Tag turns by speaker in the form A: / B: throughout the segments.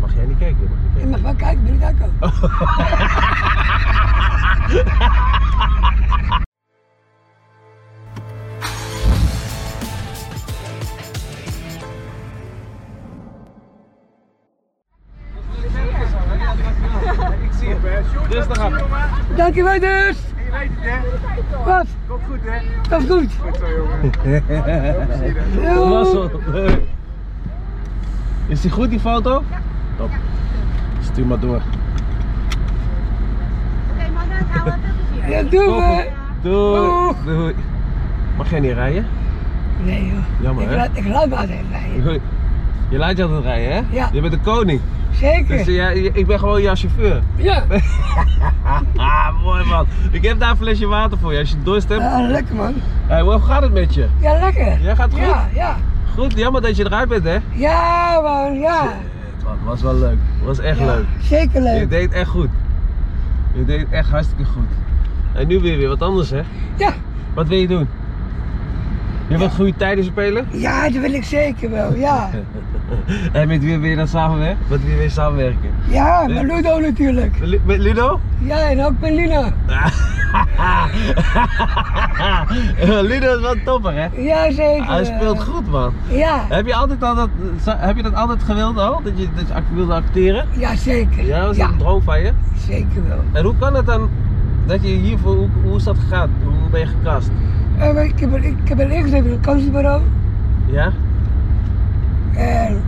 A: bekijken. je mag
B: Je
A: bekijken.
B: mag wel kijken, ben ik daar ook.
A: Oh.
C: Ik zie het, hè. Sjoerd,
A: Dus daar gaan we.
C: jongen.
B: Dankjewel dus.
C: Je weet het, hè.
B: Wat?
C: Komt goed, hè.
B: Dat is goed.
C: Goed zo, jongen. Heel plezier, hè.
B: Yo.
A: Mazzel. Is die goed die foto? Top. Stuur maar door.
D: Oké, maar dan gaan we veel
B: Ja,
D: plezier.
B: doe
A: Doei.
B: we.
A: Doei.
B: Doeg.
A: Doei. Mag jij niet rijden?
B: Nee joh.
A: Jammer,
B: ik
A: hè?
B: laat, ik laat me altijd rijden.
A: Doei. Je laat je altijd rijden, hè?
B: Ja.
A: Je bent de koning.
B: Zeker.
A: Dus jij, ik ben gewoon jouw chauffeur.
B: Ja.
A: Ah, mooi man. Ik heb daar een flesje water voor je als je dorst hebt.
B: Ah, lekker man.
A: Hey, hoe gaat het met je?
B: Ja, lekker.
A: Ja, gaat goed?
B: Ja, ja.
A: Goed, jammer dat je eruit bent, hè? Eh,
B: Ja man, ja.
A: Het wa- was wel leuk. Het was echt
B: Ja,
A: leuk.
B: Zeker
A: Je
B: leuk.
A: deed echt goed. Je deed echt hartstikke goed. En nu weer weer wat anders, hè?
B: Ja.
A: Wat wil je doen? Je wilt goede tijden spelen?
B: Ja, dat wil ik zeker wel, ja.
A: en met wie wil je dan samenwerken? Met wie wil je samenwerken?
B: Ja, met Ludo natuurlijk.
A: Met Lu- Met Ludo?
B: Ja, en ook met Lina.
A: Ludo is wel topper, hè?
B: Ja, zeker.
A: Hij speelt goed, man.
B: Ja,
A: Heb je, altijd al dat, heb je dat altijd gewild al? Dat je dat je act- wilde acteren?
B: ja zeker.
A: Ja, dat is een droom van je.
B: zeker wel.
A: En hoe kan het dan dat je hiervoor, hoe, hoe is dat gegaan? Hoe ben je gecast?
B: Eh, maar ik, heb, er- ik heb er ingeschreven in het kansenbureau.
A: Ja?
B: En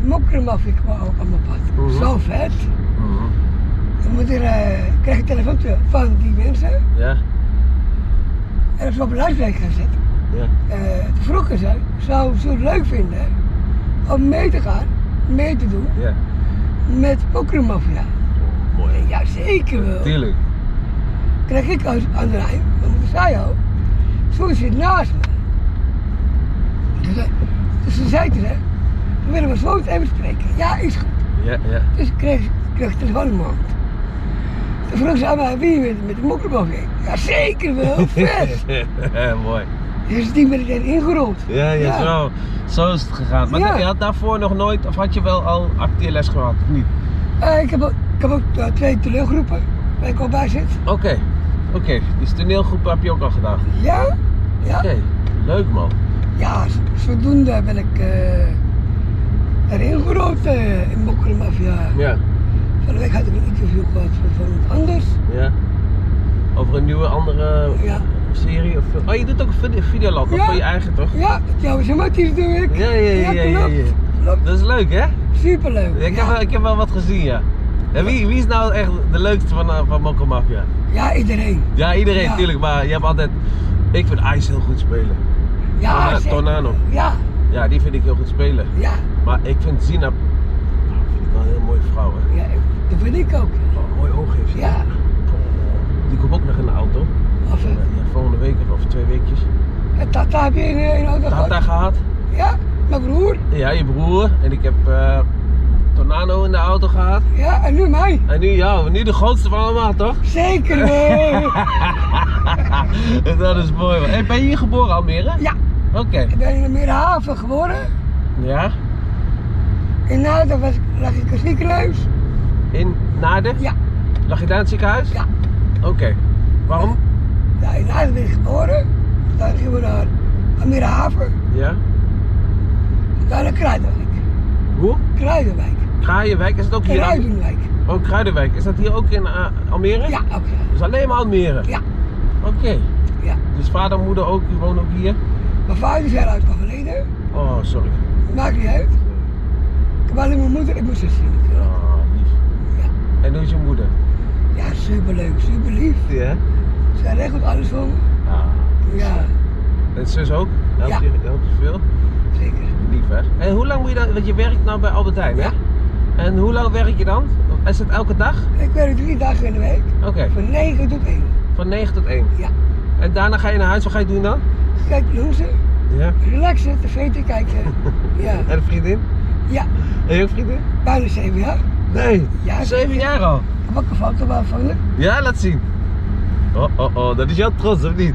B: Mokremafie kwam ook aan mijn pad.
A: Mhm.
B: Zo vet. Dan moet er, eh, krijg ik een telefoontje van die mensen.
A: Ja?
B: En dat ze op een luidspreker gaan zetten.
A: Ja?
B: Eh, toen vroegen ze, zou ze het leuk vinden om mee te gaan, mee te doen
A: Ja?
B: met Mokremafia?
A: Oh, Mooi.
B: Ja, zeker wel.
A: Tuurlijk.
B: krijg ik als aan de rij, want ik zei al, zo zit naast me. Dus, hij- dus ze zei tegen hem, we willen maar zo meteen even spreken. Ja, is goed.
A: Ja, ja.
B: Dus ik kreeg, ik kreeg de telefoon in mijn hand. Toen vroeg ze aan mij, wie met, met de mokkerbal ging. Ja, zeker wel, vet.
A: Mooi.
B: Dus die ben ik erin ingerold.
A: Ja, ja, Zo, zo is het gegaan. Maar
B: Ja.
A: je had daarvoor nog nooit, of had je wel al acteerles gehad, of niet?
B: Eh, ik, heb ook, ik heb ook eh, twee teleurgroepen, waar ik al bij zit.
A: Oké, oké. Dus toneelgroep heb je ook al gedaan. Oké,
B: Ja, ja.
A: leuk man.
B: Ja, z- zodoende ben ik eh, erin gerold eh, in Mokkermafia.
A: Ja,
B: Van de week had ik een interview gehad van, van iemand anders.
A: ja. Over een nieuwe andere
B: Ja.
A: serie of film. Oh, je doet ook video videoland, dat
B: Ja.
A: voor je eigen toch?
B: Ja, jouw Matties doe ik.
A: Ja, ja, ja, ja, ja, ja.
B: klopt. Klopt.
A: Dat is leuk hè?
B: Superleuk.
A: Ik heb,
B: ja.
A: wel- ik heb wel wat gezien, ja. En wie, wie is nou echt de leukste van, eh, van Mokko Mafia?
B: ja, iedereen.
A: Ja, iedereen
B: Ja.
A: tuurlijk, maar je hebt altijd... Ik vind Ice heel goed spelen.
B: Ja,
A: Torna-
B: zeker.
A: Tornado.
B: Ja,
A: Ja, die vind ik heel goed spelen.
B: ja,
A: Maar ik vind Zina... Nou, vind ik wel een heel mooie vrouw, hè.
B: ja. Dat vind ik ook.
A: Wel een mooi oog heeft ze.
B: Ja.
A: Oh, Die komt ook nog in de auto.
B: Of, eh,
A: Ja, volgende week of over twee weekjes.
B: Tata heb je in, eh, in auto gehad?
A: Tata gehad.
B: Ja, mijn broer.
A: Ja, je broer. En ik heb eh Tornado in de auto gehad.
B: Ja, en nu mij.
A: En nu jou. Nu de grootste van allemaal, toch?
B: Zeker wel.
A: dat is mooi. man. Hey, ben je hier geboren, Almere?
B: ja,
A: Oké.
B: ik ben in de Meerhaven geboren.
A: Ja?
B: In Naden was, ik- lag ik een ziekenhuis.
A: In Naarden?
B: Ja.
A: Lag je daar in het ziekenhuis?
B: Ja.
A: Oké. Waarom?
B: Ja, in Naden ben ik geboren. Dan gingen we naar Meerhaven.
A: Ja.
B: Dan naar Kruidenwijk.
A: Hoe?
B: Kruidenwijk.
A: Kraaienwijk, is het ook hier? aan-
B: Kruidenwijk.
A: Oh, Kruidenwijk. Is dat hier ook in eh, Almere?
B: Ja, ook ja.
A: Dus alleen maar Almere?
B: Ja.
A: Oké.
B: Ja.
A: Dus vader en moeder ook, die wonen ook hier?
B: Mijn vader is helaas overleden.
A: Oh, sorry.
B: Maakt niet uit. Ik heb alleen mijn moeder en mijn zusje natuurlijk.
A: Oh, lief.
B: Ja.
A: En hoe is je moeder?
B: Ja, superleuk, superlief.
A: Ja.
B: Ze regelt alles voor me.
A: Ah.
B: Ja,
A: En zus ook? Helpt,
B: Ja.
A: je, helpt je veel?
B: zeker.
A: Lief, hè? En hoe lang moet je dan, want je werkt nou bij Albert Heijn, hè?
B: Ja.
A: En hoe lang werk je dan? Is het elke dag?
B: Ik werk drie dagen in de week.
A: Oké,
B: Van 9 tot 1.
A: van 9 tot 1.
B: Ja.
A: En daarna ga je naar huis, wat ga je doen dan?
B: Kijk loenzen,
A: Ja.
B: relaxen, tv te kijken. Ja,
A: En een vriendin?
B: ja.
A: En je ook vriendin?
B: bijna 7 jaar.
A: Nee.
B: Ja,
A: Zeven jaar al.
B: Ik heb ook een foto wel van haar.
A: Ja, laat zien. Oh, oh, oh, dat is jouw trots, of niet?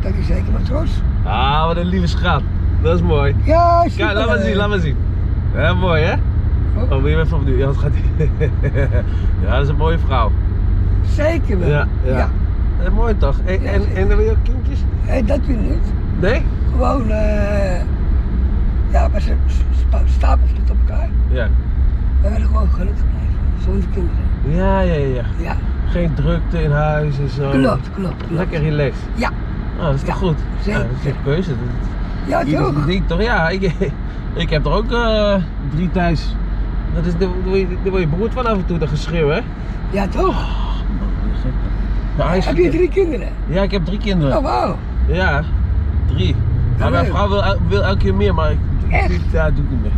B: Dat is zeker mijn trots.
A: Ah, wat een lieve schat. Dat is mooi.
B: Ja, super.
A: Kijk, laat maar zien, laat maar zien. Heel mooi, hè?
B: hoor.
A: Oh, wil je even opnieuw? Ja, dat gaat Ja, dat is een mooie vrouw.
B: Zeker wel.
A: Ja, ja. Eh, mooi toch? En, en, en dan wil je ook kindjes?
B: Hé, dat doe je niet.
A: Nee?
B: Gewoon, eh ja, maar ze ze spa- stapelen het op elkaar.
A: Ja.
B: We willen gewoon gelukkig blijven, zonder kinderen.
A: Ja, ja, ja.
B: Ja,
A: Geen drukte in huis en zo.
B: klopt, klopt, klopt.
A: Oh. Lekker relaxed.
B: Ja,
A: Oh, dat is toch
B: Ja,
A: goed?
B: zeker.
A: Ja, dat is een keuze. Dat-
B: ja,
A: Ieder
B: toch?
A: zijn ding toch? Ja, ik, ik heb er ook eh, drie thuis. Dat is, daar word je- daar word je beroerd van af en toe, dat geschreeuw, hè?
B: Ja, toch?
A: Nou, hij is-
B: Heb je drie kinderen?
A: Ja, ik heb drie kinderen.
B: Oh, wauw.
A: Ja, drie.
B: Ja,
A: Maar mijn
B: leuk.
A: vrouw wil, el- wil elke keer meer, maar ik,
B: Echt?
A: ja, dat doe ik niet meer.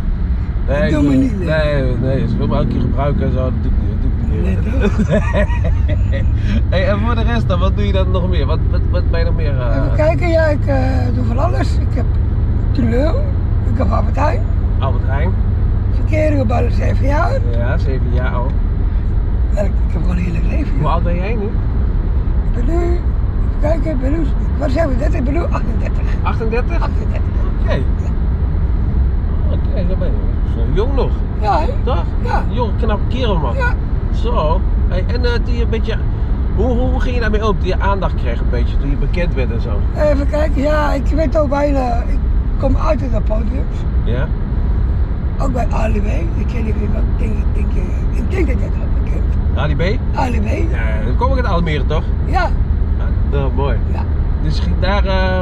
B: Dat
A: ik
B: doen we
A: doe-
B: niet meer.
A: Nee, nee, ze wil me elke keer gebruiken en zo, dat doe ik niet, dat doe ik niet meer.
B: Nee, toch?
A: hey, en voor de rest dan, wat doe je dan nog meer? Wat, wat, wat ben je nog meer? eh,
B: Even kijken, ja, ik eh, doe van alles. Ik heb teleur, ik heb Albert Heijn,
A: Albert Heijn,
B: verkeringen bij de zeven jaar.
A: ja, zeven jaar oud.
B: En ik, ik heb gewoon een heerlijk leven.
A: Hoe
B: joh.
A: oud ben jij nu?
B: Ik ben nu, even kijken, ik ben nu, ik was 37, ik ben nu 38.
A: 38?
B: 38.
A: Oké. Oké, daar ben je. Zo jong nog,
B: Ja, hè?
A: toch?
B: Ja.
A: Jong, knappe kerel man.
B: Ja.
A: Zo. Hey, en eh, toen je een beetje, hoe, hoe ging je daarmee om? Toen je aandacht kreeg een beetje, toen je bekend werd en zo.
B: Even kijken, ja, ik weet ook bijna, ik kom uit op podiums.
A: Ja?
B: Ook bij Ali B. Ik ken niet wie, maar ik denk, ik denk, eh, ik denk dat jij dat wel kent.
A: Ali B?
B: Ali B.
A: Ja, dan kom ik uit Almere toch?
B: Ja,
A: Ja, nou, mooi.
B: ja.
A: Dus je ging daar eh,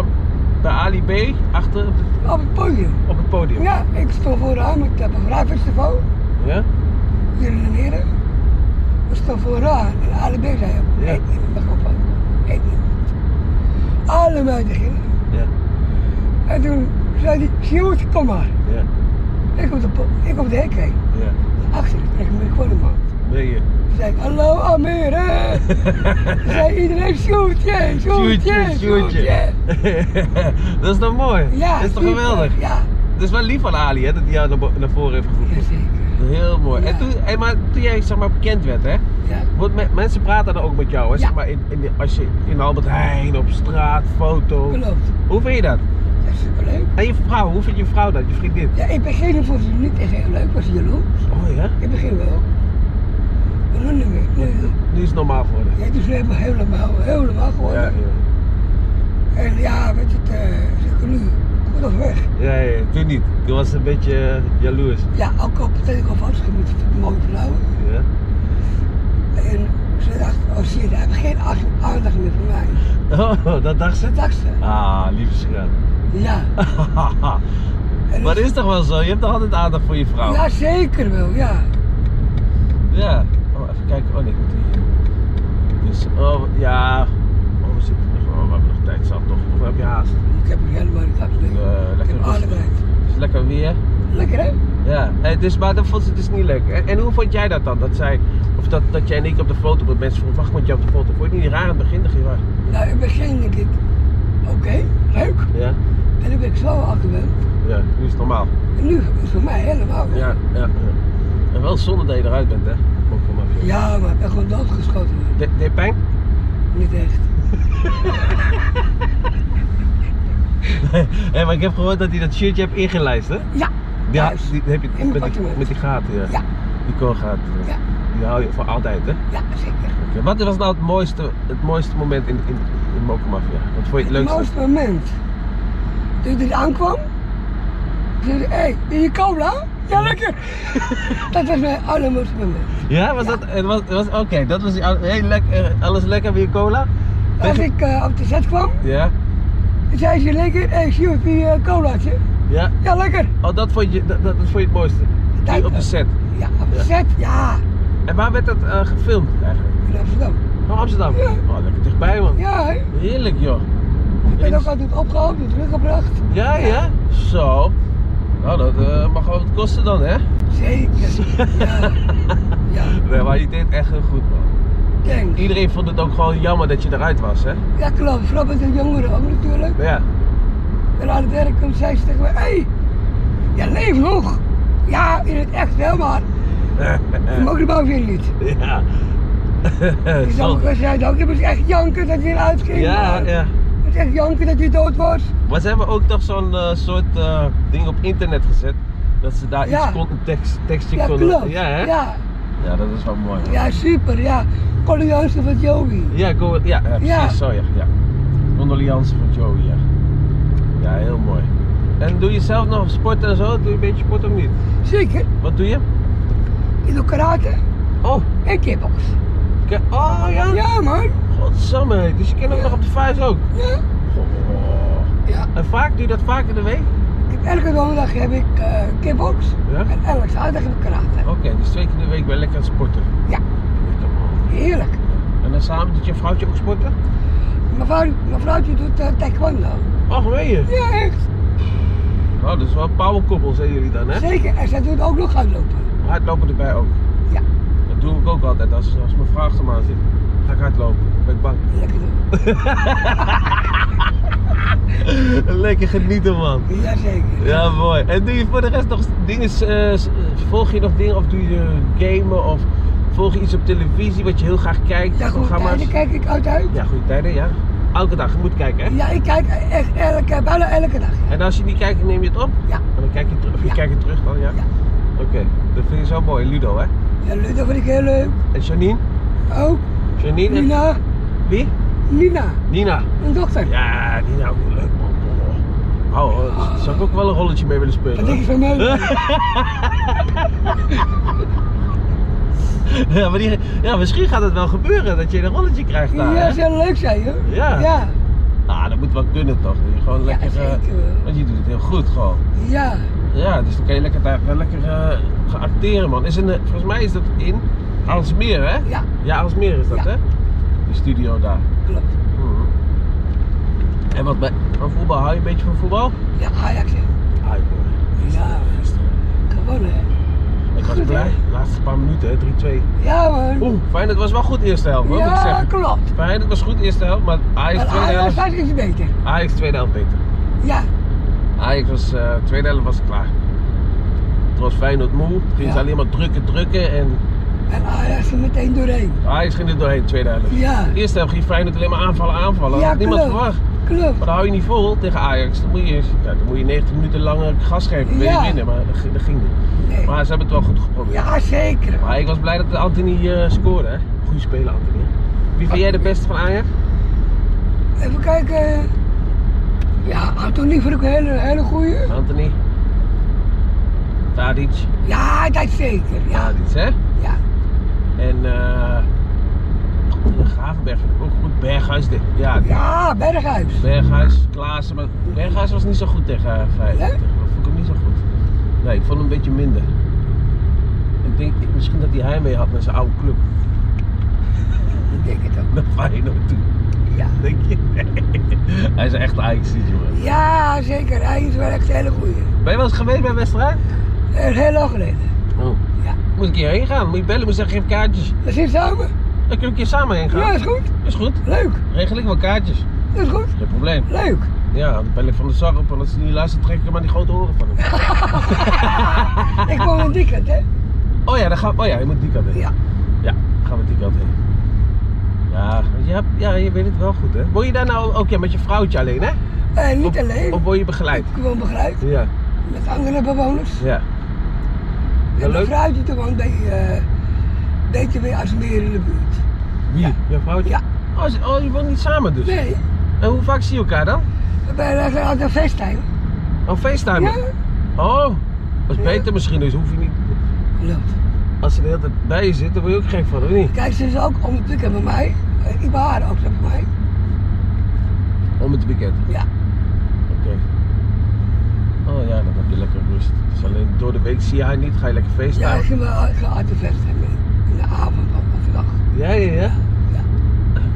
A: bij Ali B achter op, het-
B: Op het podium.
A: op het podium.
B: Ja, ik stond vooraan met het bevrijdingsfestival.
A: Ja?
B: Hier in de heren. We stonden vooraan en Ali B zei op.
A: Ja.
B: Eet niet, mag op. Eet niet. Alle meiden gingen.
A: Ja.
B: En toen zei hij, Sjoerd, kom maar.
A: Ja.
B: Ik op de, po- ik op de hek heen.
A: Ja.
B: Achter kreeg me gewoon een man.
A: Ben je?
B: Toen zei ik, hallo Amere. Toen zei iedereen, Sjoerdje, Sjoerdje, Sjoerdje.
A: dat is toch mooi?
B: Ja,
A: dat is toch
B: super.
A: geweldig?
B: Ja,
A: Het is wel lief van Ali hè, dat hij jou naar, bo- naar voren heeft
B: ja,
A: geroepen.
B: zeker.
A: Heel mooi. En
B: Ja.
A: toen, hey, maar toen jij zeg maar, bekend werd, hè?
B: Ja.
A: Want me- mensen praten dan ook met jou, hè?
B: Ja.
A: Zeg maar in, in de- als je in Albert Heijn, op straat, foto.
B: Klopt.
A: Hoe vind je dat?
B: Dat is superleuk.
A: En je vrouw, hoe vindt je vrouw dat? Je vriendin?
B: Ja, in het begin vond ze het niet echt heel leuk, was ze jaloers.
A: Oh ja?
B: In het begin wel. Maar nu niet meer. Nu,
A: Nu is het normaal voor haar.
B: ja, het is helemaal, helemaal, helemaal geworden.
A: Ja,
B: En ja, weet je, het, eh, ze kunnen nu goed of weg.
A: ja, ja, ja. Toen niet. Toen was ze een beetje eh, jaloers.
B: Ja, ook op het ik of afscheid met een mooie vrouwen.
A: Ja.
B: En ze dacht, oh zie je, daar heb ik geen aandacht- aandacht meer voor mij.
A: Oh, dat dacht ze?
B: Dat dacht ze.
A: Ah, lieve schat.
B: Ja. En
A: maar dat
B: dus-
A: is nou? toch wel zo? Je hebt toch altijd aandacht voor je vrouw?
B: Ja, zeker wel, ja.
A: Ja. Oh, even kijken. Oh nee, ik moet hier. Dus, oh, ja. Oh, we zitten nog. Oh, we hebben nog tijd zat nog. Of heb je haast?
B: Ik heb er helemaal niet aan
A: Eh,
B: Ik
A: lekker rustig.
B: heb allebei.
A: Het is lekker weer.
B: Lekker hè?
A: Ja, eh, dus, maar dat vond ze dus niet leuk. En, en hoe vond jij dat dan? Dat, zij, of dat, dat jij en ik op de foto, dat mensen vroegen, wacht met jou op de foto. Vond je het niet raar aan het begin? Dacht je, waar?
B: Nou, in het begin denk ik, oké, leuk.
A: Ja,
B: En dan ben ik zo aan gewend.
A: ja, nu is het normaal.
B: En nu is het voor mij helemaal weg.
A: Ja, ja, ja. En wel zonde dat je eruit bent, hè? Ook voor mij.
B: Ja, maar ik ben gewoon doodgeschoten. man.
A: De- Deed pijn?
B: Niet echt.
A: Hé, maar ik heb gehoord dat hij dat shirtje hebt ingelijst, hè?
B: Ja,
A: Die, ha-
B: thuis.
A: die heb je
B: In mijn
A: met, die,
B: appartement.
A: met die gaten, ja.
B: Ja.
A: Die koolgaten.
B: Ja.
A: Die hou je voor altijd, hè?
B: ja, zeker.
A: Oké, Wat was nou het mooiste, het mooiste moment in, in, in Mokermafia? Wat vond je het
B: Het
A: leukste?
B: mooiste moment. Toen hij aankwam, zei hij, hé, hey, ben je cola? Ja, lekker. dat was mijn allermooiste moment.
A: Ja, was dat? Het was, het was, Oké, dat was die al- heel lekker. Alles lekker weer cola?
B: Als ik eh, op de set kwam,
A: Ja,
B: zei ze lekker, hé, hey, Sjoerd, die eh, colaatje?
A: ja.
B: Ja, lekker.
A: Oh, dat vond je, dat, dat dat vond je het mooiste?
B: Tijd,
A: Die op de
B: eh.
A: set.
B: Ja, op de
A: Ja.
B: set, ja.
A: En waar werd dat eh, gefilmd eigenlijk?
B: In Amsterdam.
A: Oh, Amsterdam?
B: Ja.
A: Oh, lekker dichtbij man.
B: Ja, hè.
A: Heerlijk joh.
B: ik ben ook altijd opgehaald en teruggebracht.
A: Ja, ja. Zo. Nou, dat eh, mag wel wat kosten dan, hè?
B: Zeker. Ja, ja.
A: Nee, maar je deed echt heel goed, man.
B: thanks.
A: Iedereen vond het ook gewoon jammer dat je eruit was, hè?
B: Ja, klopt. Vooral met de jongeren ook natuurlijk.
A: Maar ja.
B: En aan het werk komt zij ze tegen mij, hé, hey, jij leeft nog. Ja, in het echt wel, maar je mag de bouw weer niet.
A: ja.
B: Dus dan
A: Zonde.
B: was jij ook, je moest echt janken dat je eruit ging.
A: Ja,
B: maar.
A: ja.
B: Je moest echt janken dat je dood was.
A: Maar ze hebben ook toch zo'n eh, soort eh, ding op internet gezet. Dat ze daar
B: Ja.
A: iets kon, een tekst, tekstje
B: Ja,
A: konden.
B: klopt.
A: Ja, hè?
B: Ja,
A: Ja, dat is wel mooi. hoor.
B: ja, super. Ja, Colliansen van Joey.
A: Ja, go, ja, ja, precies
B: Ja.
A: zo, ja. ja. Condoleance van Joey, ja. Ja, heel mooi. En doe je zelf nog sport en zo? Doe je een beetje sport of niet?
B: Zeker,
A: Wat doe je?
B: ik doe karate
A: Oh,
B: en kickbox.
A: ke- oh ja?
B: Ja, man.
A: Godsamme, hé. dus je kent ook nog op de vuist ook?
B: Ja.
A: Goh.
B: Ja.
A: En vaak? Doe je dat vaak in de week?
B: Ik heb elke donderdag heb ik eh kickbox
A: Ja.
B: en elke zaterdag heb ik karate.
A: Oké, dus twee keer in de week ben je lekker aan het sporten?
B: Ja.
A: Lekker man.
B: Heerlijk.
A: En dan samen doet je vrouwtje ook sporten?
B: Mijn vrouw, mijn vrouwtje doet eh, taekwondo.
A: Oh, meen je?
B: Ja, echt.
A: Oh, dat is wel powerkoppel zijn jullie dan, hè?
B: Zeker. En zij doet ook nog hardlopen.
A: Hardlopen erbij ook.
B: Ja.
A: Dat doe ik ook altijd. Als, als mijn vrouw achter me aan zit, ga ik hardlopen. Dan Ben ik bang.
B: Lekker doen.
A: Lekker genieten, man.
B: Jazeker.
A: Ja, mooi. En doe je voor de rest nog dingen, eh, s- volg je nog dingen of doe je gamen of volg je iets op televisie wat je heel graag kijkt?
B: Ja, goed.
A: programma's?
B: Daar kijk ik uit uit.
A: Ja, goede tijden, ja. Elke dag, je moet kijken, hè?
B: Ja, ik kijk echt elke, bijna elke dag.
A: En als je niet kijkt, neem je het op?
B: Ja.
A: En dan kijk je terug, of je
B: Ja.
A: kijkt het terug dan, ja?
B: Ja.
A: Oké, dat vind je zo mooi, Ludo, hè?
B: Ja, dat vind ik heel leuk.
A: En Janine?
B: Ook
A: Janine en...
B: Nina.
A: Wie?
B: Nina,
A: Nina.
B: mijn dochter.
A: Ja, Nina, hoe leuk, man. Oh, oh, zou ik ook wel een rolletje mee willen spelen?
B: Wat denk je
A: hoor.
B: van mij?
A: ja, maar die, ja, misschien gaat het wel gebeuren dat je een rolletje krijgt daar.
B: Ja,
A: hè?
B: dat zou leuk zijn, hoor.
A: Ja.
B: Ja,
A: Nou, dat moet wel kunnen toch? Dat je gewoon
B: Ja,
A: lekker. eh,
B: zeker wel.
A: want je doet het heel goed gewoon.
B: ja.
A: Ja, dus dan kan je lekker daar wel lekker eh, gaan acteren man. Is een, eh, volgens mij is dat in Aalsmeer, hè?
B: Ja.
A: Ja, Aalsmeer is dat
B: Ja.
A: hè? De studio daar.
B: klopt.
A: Mhm. En wat bij van voetbal, hou je een beetje van voetbal?
B: Ja, Ajax, hè.
A: Hou ik hoor.
B: Ja, gewonnen, hè.
A: Ik was
B: Goed,
A: blij.
B: hè?
A: De laatste paar minuten, hè, 3-2.
B: Ja, man.
A: Oeh, fijn, dat was wel goed eerste helft, hoor, moet ik
B: ja,
A: zeggen.
B: klopt.
A: Fijn, dat was goed eerste helft, maar Ajax
B: Maar
A: tweede
B: Ajax
A: helft.
B: Ajax is beter.
A: Ajax tweede helft beter.
B: Ja,
A: Ajax was eh tweede helft was klaar. Het was Feyenoord moe, ging
B: Ja.
A: ze alleen maar drukken, drukken en
B: en Ajax er meteen doorheen.
A: Ajax ging er doorheen tweede helft.
B: Ja,
A: De eerste helft ging Feyenoord alleen maar aanvallen, aanvallen. Dat
B: Ja,
A: had niemand
B: klopt.
A: verwacht.
B: klopt.
A: Maar dan hou je niet vol tegen Ajax. Dan moet je, ja, dan moet je 90 minuten lang eh, gas geven, wil
B: Ja.
A: je winnen, maar dat ging, dat ging niet.
B: Nee.
A: Maar ze hebben het wel goed geprobeerd.
B: Ja, zeker.
A: Maar ik was blij dat Anthony eh, scoorde. hè. Goeie speler Anthony. Wie vind jij de beste van Ajax?
B: Even kijken. Ja, Antonie vond ik een hele, hele goeie.
A: Anthony? Tadic?
B: Ja, dat zeker. Ja,
A: Tadic hè?
B: ja.
A: En eh. Gravenberg vind ik ook goed. Berghuis, de, ja.
B: Ja, Berghuis.
A: Berghuis, Klaassen. Maar Berghuis was niet zo goed tegen eh, Feyenoord.
B: Ja?
A: Dat vond ik hem niet zo goed. Nee, ik vond hem een beetje minder. Ik denk misschien dat hij heimwee had naar zijn oude club.
B: Ik denk het ook.
A: Naar Feyenoord toe.
B: Ja.
A: Denk je? hij is echt ajax jongen.
B: Ja, zeker. Hij is wel echt een hele goeie.
A: Ben je wel eens geweest bij een wedstrijd?
B: Eh, heel lang geleden.
A: Oh.
B: Ja.
A: Moet ik een keer heen gaan? Moet je bellen? Moet je zeggen, geef kaartjes.
B: We zitten samen.
A: Dan kunnen we een keer samen heen gaan.
B: Ja, is goed.
A: Is goed.
B: Leuk.
A: Regel ik wel kaartjes.
B: Dat is goed.
A: Geen probleem.
B: Leuk.
A: Ja, dan bel ik van de zak op en als hij niet luistert, trek ik hem aan die grote oren van hem.
B: Ik woon in Diekend, hè?
A: Oh ja, dan gaan we, oh ja, je moet die kant heen.
B: Ja.
A: Ja, dan gaan we die kant heen. Ja, want je hebt, ja, je weet het wel goed hè. Woon je daar nou ook ja, met je vrouwtje alleen hè?
B: Eh, niet
A: Of-
B: alleen.
A: Of word je begeleid?
B: Ik woon begeleid.
A: Ja,
B: Met andere bewoners.
A: ja.
B: En
A: leuk.
B: mijn vrouwtje toen woont bij eh BTW Asmeer in de buurt.
A: Wie? Je vrouwtje?
B: Ja.
A: Oh, ze- oh, je woont niet samen dus?
B: Nee,
A: En hoe vaak zie je elkaar dan?
B: we zijn altijd een festtime.
A: Oh, FaceTime?
B: Ja,
A: Oh, dat is
B: Ja.
A: beter misschien dus. Hoef je niet...
B: klopt.
A: Als ze de hele tijd bij je zit, dan word je ook gek van, of niet?
B: Kijk, ze is ook om het weekend bij mij. Eh, Ik ben haar ook zo bij mij.
A: Om het weekend.
B: Ja.
A: Oké. Oh ja, dan heb je lekker rust. Dus alleen door de week zie je haar niet, ga je lekker feesten.
B: Ja, ik ga wel- ik ga altijd een festtime in. In de avond of of de dag.
A: ja, ja. ja.
B: Ja.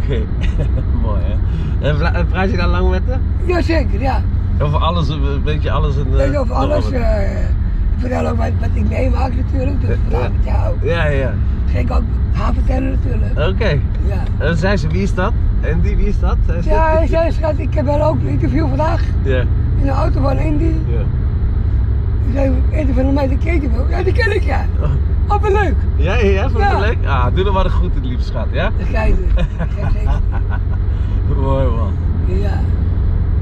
A: Oké, mooi hè. En vla- en praat je daar lang met haar?
B: Jazeker, ja.
A: Over alles, een beetje alles. En,
B: Weet
A: eh,
B: je, over
A: nog
B: alles.
A: wat.
B: eh, ik vertel ook wat, wat ik meemaak natuurlijk. Dus vandaag met jou.
A: Ja, ja.
B: Ging ik ook haar vertellen natuurlijk.
A: Oké.
B: Ja.
A: En zei ze, wie is dat? En die, wie is dat? Zei ze?
B: Ja, hij zei, schat, ik heb wel ook een interview vandaag
A: Ja,
B: in de auto van Indy.
A: ja.
B: Ik zei, eten van mij, die ken je wel? Ja, die ken ik ja. Oh, wat leuk.
A: Ja, ja, ja, vond je
B: Ja.
A: het leuk? Ah, doe er maar goed in, lieve schat, ja?
B: Dat ga je doen. Ja, zeker.
A: Mooi man.
B: Ja.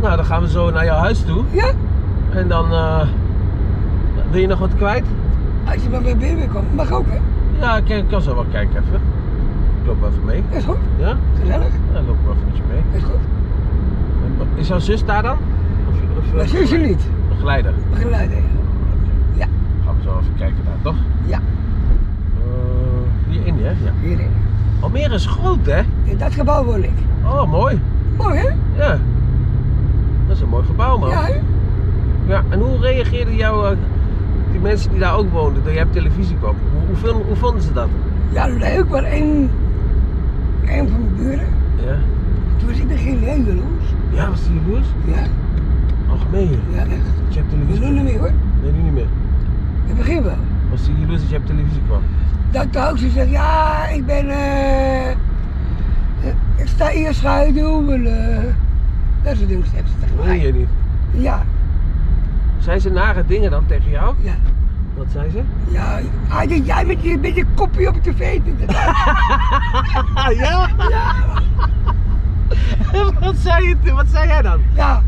A: Nou, dan gaan we zo naar jouw huis toe.
B: Ja?
A: En dan, eh, Wil je nog wat kwijt?
B: Als je maar bij BMW komt, mag ook hè.
A: Ja, ik kan- kan zo wel kijken even. Ik loop even mee.
B: Is goed,
A: Ja?
B: gezellig,
A: Dan loop ik wel even met je mee.
B: is goed.
A: Is jouw zus daar dan? Of, of, eh,
B: Maar zusje niet,
A: Begeleider.
B: maar geluiden. ja. Ja.
A: Gaan we zo even kijken daar, toch?
B: Ja.
A: Eh, hierin, hè? Ja.
B: Hierin.
A: Almere is groot, hè?
B: In dat gebouw woon ik.
A: Oh, mooi.
B: Mooi hè?
A: Ja. Dat is een mooi gebouw, man.
B: Ja, hè?
A: Ja, en hoe reageerden jouw, eh, die mensen die daar ook woonden, toen jij op televisie kwam? Hoe, hoe, vonden, hoe vonden ze dat?
B: ja leuk, maar één, één van mijn buren,
A: Ja.
B: toen was ik begin heel jaloers.
A: Ja, was die jaloers?
B: Ja,
A: Algemeen.
B: ja echt.
A: Dat je op
B: We
A: televisie
B: doen het mee hoor,
A: Nee, nu niet meer.
B: in het begin wel.
A: Was die jaloers dat je op televisie kwam?
B: Dat de hoogste zegt, ja, ik ben, eh, eh, ik sta eerst schuin doen, eh, dat soort dingen hebben ze tegen mij.
A: Nee, je niet.
B: Ja,
A: Zijn ze nare dingen dan tegen jou?
B: ja.
A: Wat zei ze?
B: Ja, ah, dat jij met je, met je kopje op de tv zit.
A: Ah, ja?
B: Ja,
A: wat, zei je, toen? wat zei jij dan?
B: ja.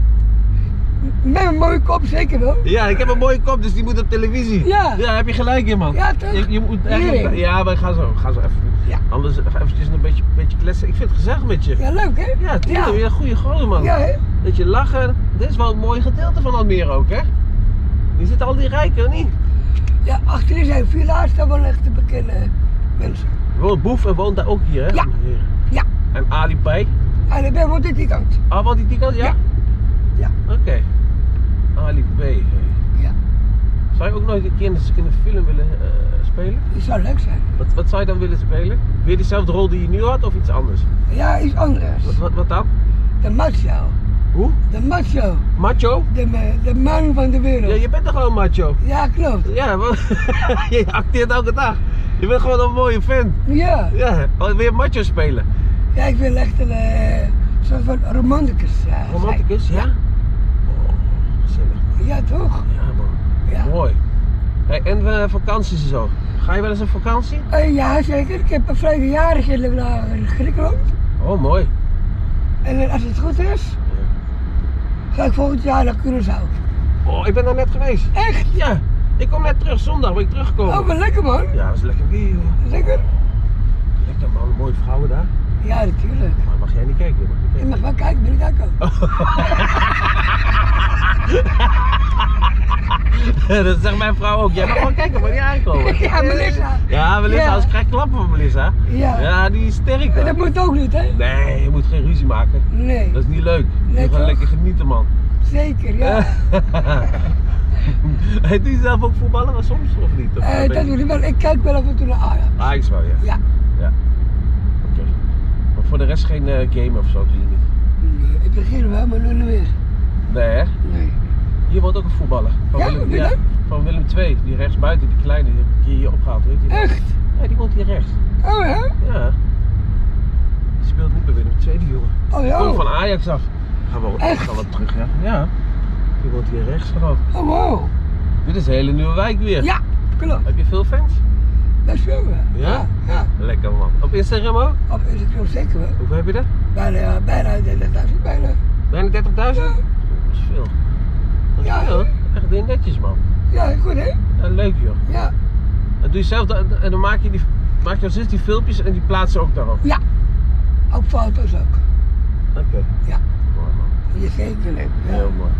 B: Met een mooie kop zeker wel.
A: Ja, ik heb een mooie kop, dus die moet op televisie.
B: Ja.
A: Ja, heb je gelijk in, man.
B: Ja, toch?
A: Je, je moet eigenlijk...
B: Heerlijk.
A: Ja, maar ga zo, ga zo even.
B: Ja.
A: Anders even eventjes een beetje, beetje kletsen. Ik vind het gezellig met je.
B: Ja, leuk hè?
A: Ja, tuurlijk.
B: Ja.
A: Je bent een goede gozer, man.
B: Ja, hè?
A: Dat je lachen. Dit is wel een mooi gedeelte van Almere ook, hè? Hier zitten al die rijken, of niet?
B: Ja, achterin zijn villa's, daar wel echt de bekende mensen.
A: Wel, Boef en woont daar ook hier, hè?
B: Ja. Ja.
A: En Ali Pai.
B: En ik ben wat dit niet kant.
A: Ah, woont die die kant? Ja?
B: Ja. Ja.
A: Oké. Ali P. hey.
B: Ja.
A: Zou je ook nooit een keer in een- in een film willen eh, spelen?
B: Dat zou leuk zijn.
A: Wat, wat zou je dan willen spelen? Weer diezelfde rol die je nu had of iets anders?
B: Ja, iets anders.
A: Wat, wat, wat dan?
B: De macho.
A: Hoe?
B: De macho.
A: Macho?
B: De, me- de man van de wereld.
A: Ja,
B: Ja,
A: je bent toch gewoon macho?
B: klopt.
A: Ja, want je acteert elke dag. Je bent gewoon een mooie fan.
B: Ja.
A: Ja, oh, weer macho spelen.
B: Ja, ik wil echt een eh, soort van romanticus eh, zijn.
A: Romanticus, ja? Oh, gezellig.
B: Ja, toch?
A: Ja, man.
B: Ja.
A: Mooi. Hey, en eh, vakanties en zo. Ga je wel eens op vakantie?
B: Eh, ja, zeker. Ik heb een vrijdag in eh, Griekenland.
A: Oh, mooi.
B: En eh, als het goed is, ga ik volgend jaar naar Curaçao.
A: Oh, ik ben daar net geweest.
B: Echt?
A: Ja, ik kom net terug. Zondag wil ik terugkomen.
B: Oh, maar lekker man.
A: Ja, dat is lekker weer, joh.
B: Lekker?
A: Lekker, man. Mooie vrouwen daar.
B: Ja, natuurlijk.
A: Maar mag jij niet kijken? je Mag niet kijken.
B: Je mag wel kijken, ben ik aankomen.
A: dat zegt mijn vrouw ook. Jij mag wel kijken, maar niet aankomen.
B: Ja, Melissa.
A: Ja, Melissa,
B: Ja.
A: als ik krijg klappen van Melissa.
B: Ja.
A: Ja, die is sterk.
B: En
A: hoor.
B: Dat moet ook niet, hè?
A: Nee, je moet geen ruzie maken.
B: Nee.
A: Dat is niet leuk. Je moet
B: Nee,
A: gewoon
B: toch?
A: lekker genieten, man.
B: Zeker, ja. Eh.
A: Hey, Doe je zelf ook voetballen maar soms, of niet? Of
B: Eh,
A: ben je-
B: dat doe ik wel. Ik kijk wel af en toe naar Ajax.
A: Ah, ik wel, ja.
B: Ja.
A: Oké. Maar voor de rest geen eh, game of zo doe je niet.
B: Nee, ik begin wel, maar nu niet meer.
A: Nee, hè?
B: Nee.
A: Hier wordt ook een voetballer. Van
B: Ja,
A: Willem,
B: wie dan?
A: van Willem II, die rechtsbuiten, die kleine, die heb ik hier opgehaald. Weet je die?
B: Echt?
A: Ja, die woont hier rechts.
B: Oh, hè?
A: Ja. Die speelt niet bij Willem II, die jongen.
B: Oh, ja.
A: Komt van
B: Oh,
A: Ajax af. Gaan we,
B: Echt?
A: gaan we terug, ja? Ja. Die woont hier rechts gewoon.
B: Oh, wow.
A: Dit is een hele nieuwe wijk weer.
B: Ja, klopt.
A: Heb je veel fans?
B: Dat is wel wel.
A: Ja?
B: Ja.
A: Lekker man. Op Instagram ook?
B: Op Instagram zeker wel.
A: Hoeveel heb je er?
B: Bijna, eh, bijna, dat is bijna.
A: Bijna 30.000? Dat
B: Ja.
A: is veel. Dat is
B: Ja.
A: veel. Echt heel netjes man.
B: Ja, goed hè?
A: Ja, leuk joh.
B: Ja.
A: En doe je zelf dat- en dan maak je die, maak je zus die filmpjes en die plaatsen ook daarop.
B: Ja. Ook foto's ook.
A: Oké.
B: Ja.
A: Mooi man.
B: Ja, zeker leuk. Ja.
A: Heel mooi.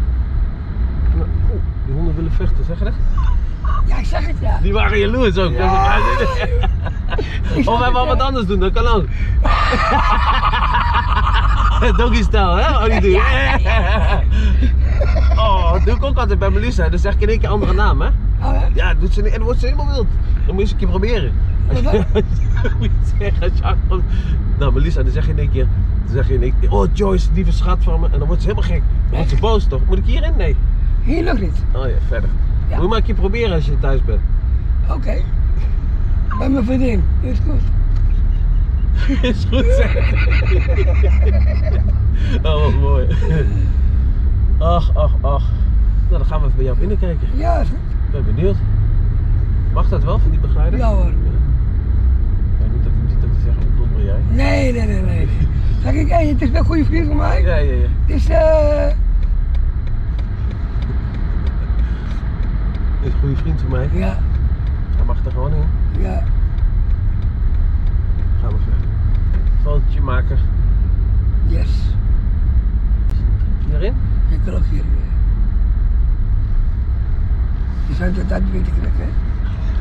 A: Nou, oeh, die honden willen vechten, zeg je dat?
B: ja, ik zeg het ja. Ah,
A: Die waren jaloers ook.
B: Ja. Ik
A: Of
B: zeg
A: wij
B: het,
A: wel wat
B: ja.
A: anders doen, dat kan ook. Doggy style, hè? Oh, die doe Oh, dat doe ik ook altijd bij Melissa. Dan zeg ik in één keer een andere naam, hè?
B: Oh, hè?
A: Ja, dat doet ze niet, en dan wordt ze helemaal wild. Dan moet je eens een keer proberen.
B: Wat dan?
A: moet je zeggen, als je aankomt. Nou, Melissa, dan zeg je in één keer. Dan zeg je in één keer. Oh, Joyce, lieve schat van me. En dan wordt ze helemaal gek. Dan wordt ze boos toch? Moet ik hierin? Nee.
B: Hier nog niet.
A: Oh ja, verder.
B: Ja.
A: Moet je maar een keer proberen als je thuis bent.
B: Oké. Bij mijn vriendin. Is goed.
A: Is goed zeg. Oh, wat mooi. Ach, ach, ach. Nou, dan gaan we even bij jou binnenkijken.
B: Ja, is goed.
A: Ik ben benieuwd. Mag dat wel van die begeleider?
B: Ja hoor.
A: Ik weet niet dat hij ziet dat hij zegt, wat dommer jij.
B: Nee, nee, nee, nee. Zeg ik, hé, het is wel een goede vriend van mij.
A: Ja, ja, ja.
B: Het is, eh...
A: Is goede vriend van mij.
B: Ja,
A: Hij mag er gewoon in.
B: ja.
A: Gaan we verder. Fotootje maken.
B: Yes.
A: Hierin?
B: Ik kan ook hier weer. Je zou dat uit weten krijgen, hè?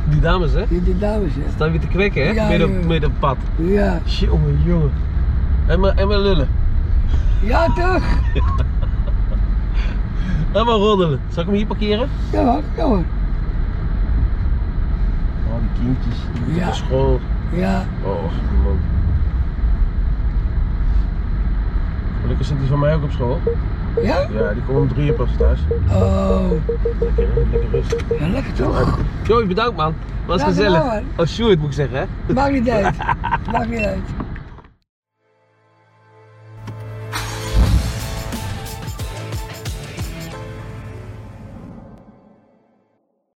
A: Die dames, hè?
B: Die, die dames, hè?
A: Staan weer te kwekken, hè?
B: Ja,
A: midden, op,
B: joh.
A: midden op pad.
B: Ja.
A: Jongen, jongen. En maar, en maar lullen.
B: Ja, toch?
A: En maar roddelen. Zal ik hem hier parkeren?
B: Ja, hoor. Ja, hoor.
A: Oh, die kindjes. Die moeten
B: Ja.
A: naar school.
B: Ja.
A: Oh, man. Gelukkig zit die van mij ook op school.
B: Ja?
A: Ja, die komt om drie uur pas thuis.
B: Oh.
A: Lekker, hè? lekker rustig.
B: Ja, lekker toch?
A: Joey, bedankt man. Was
B: Ja,
A: gezellig.
B: gedaan,
A: Oh, Sjoerd moet ik zeggen, hè?
B: Maakt niet uit. Maakt niet uit.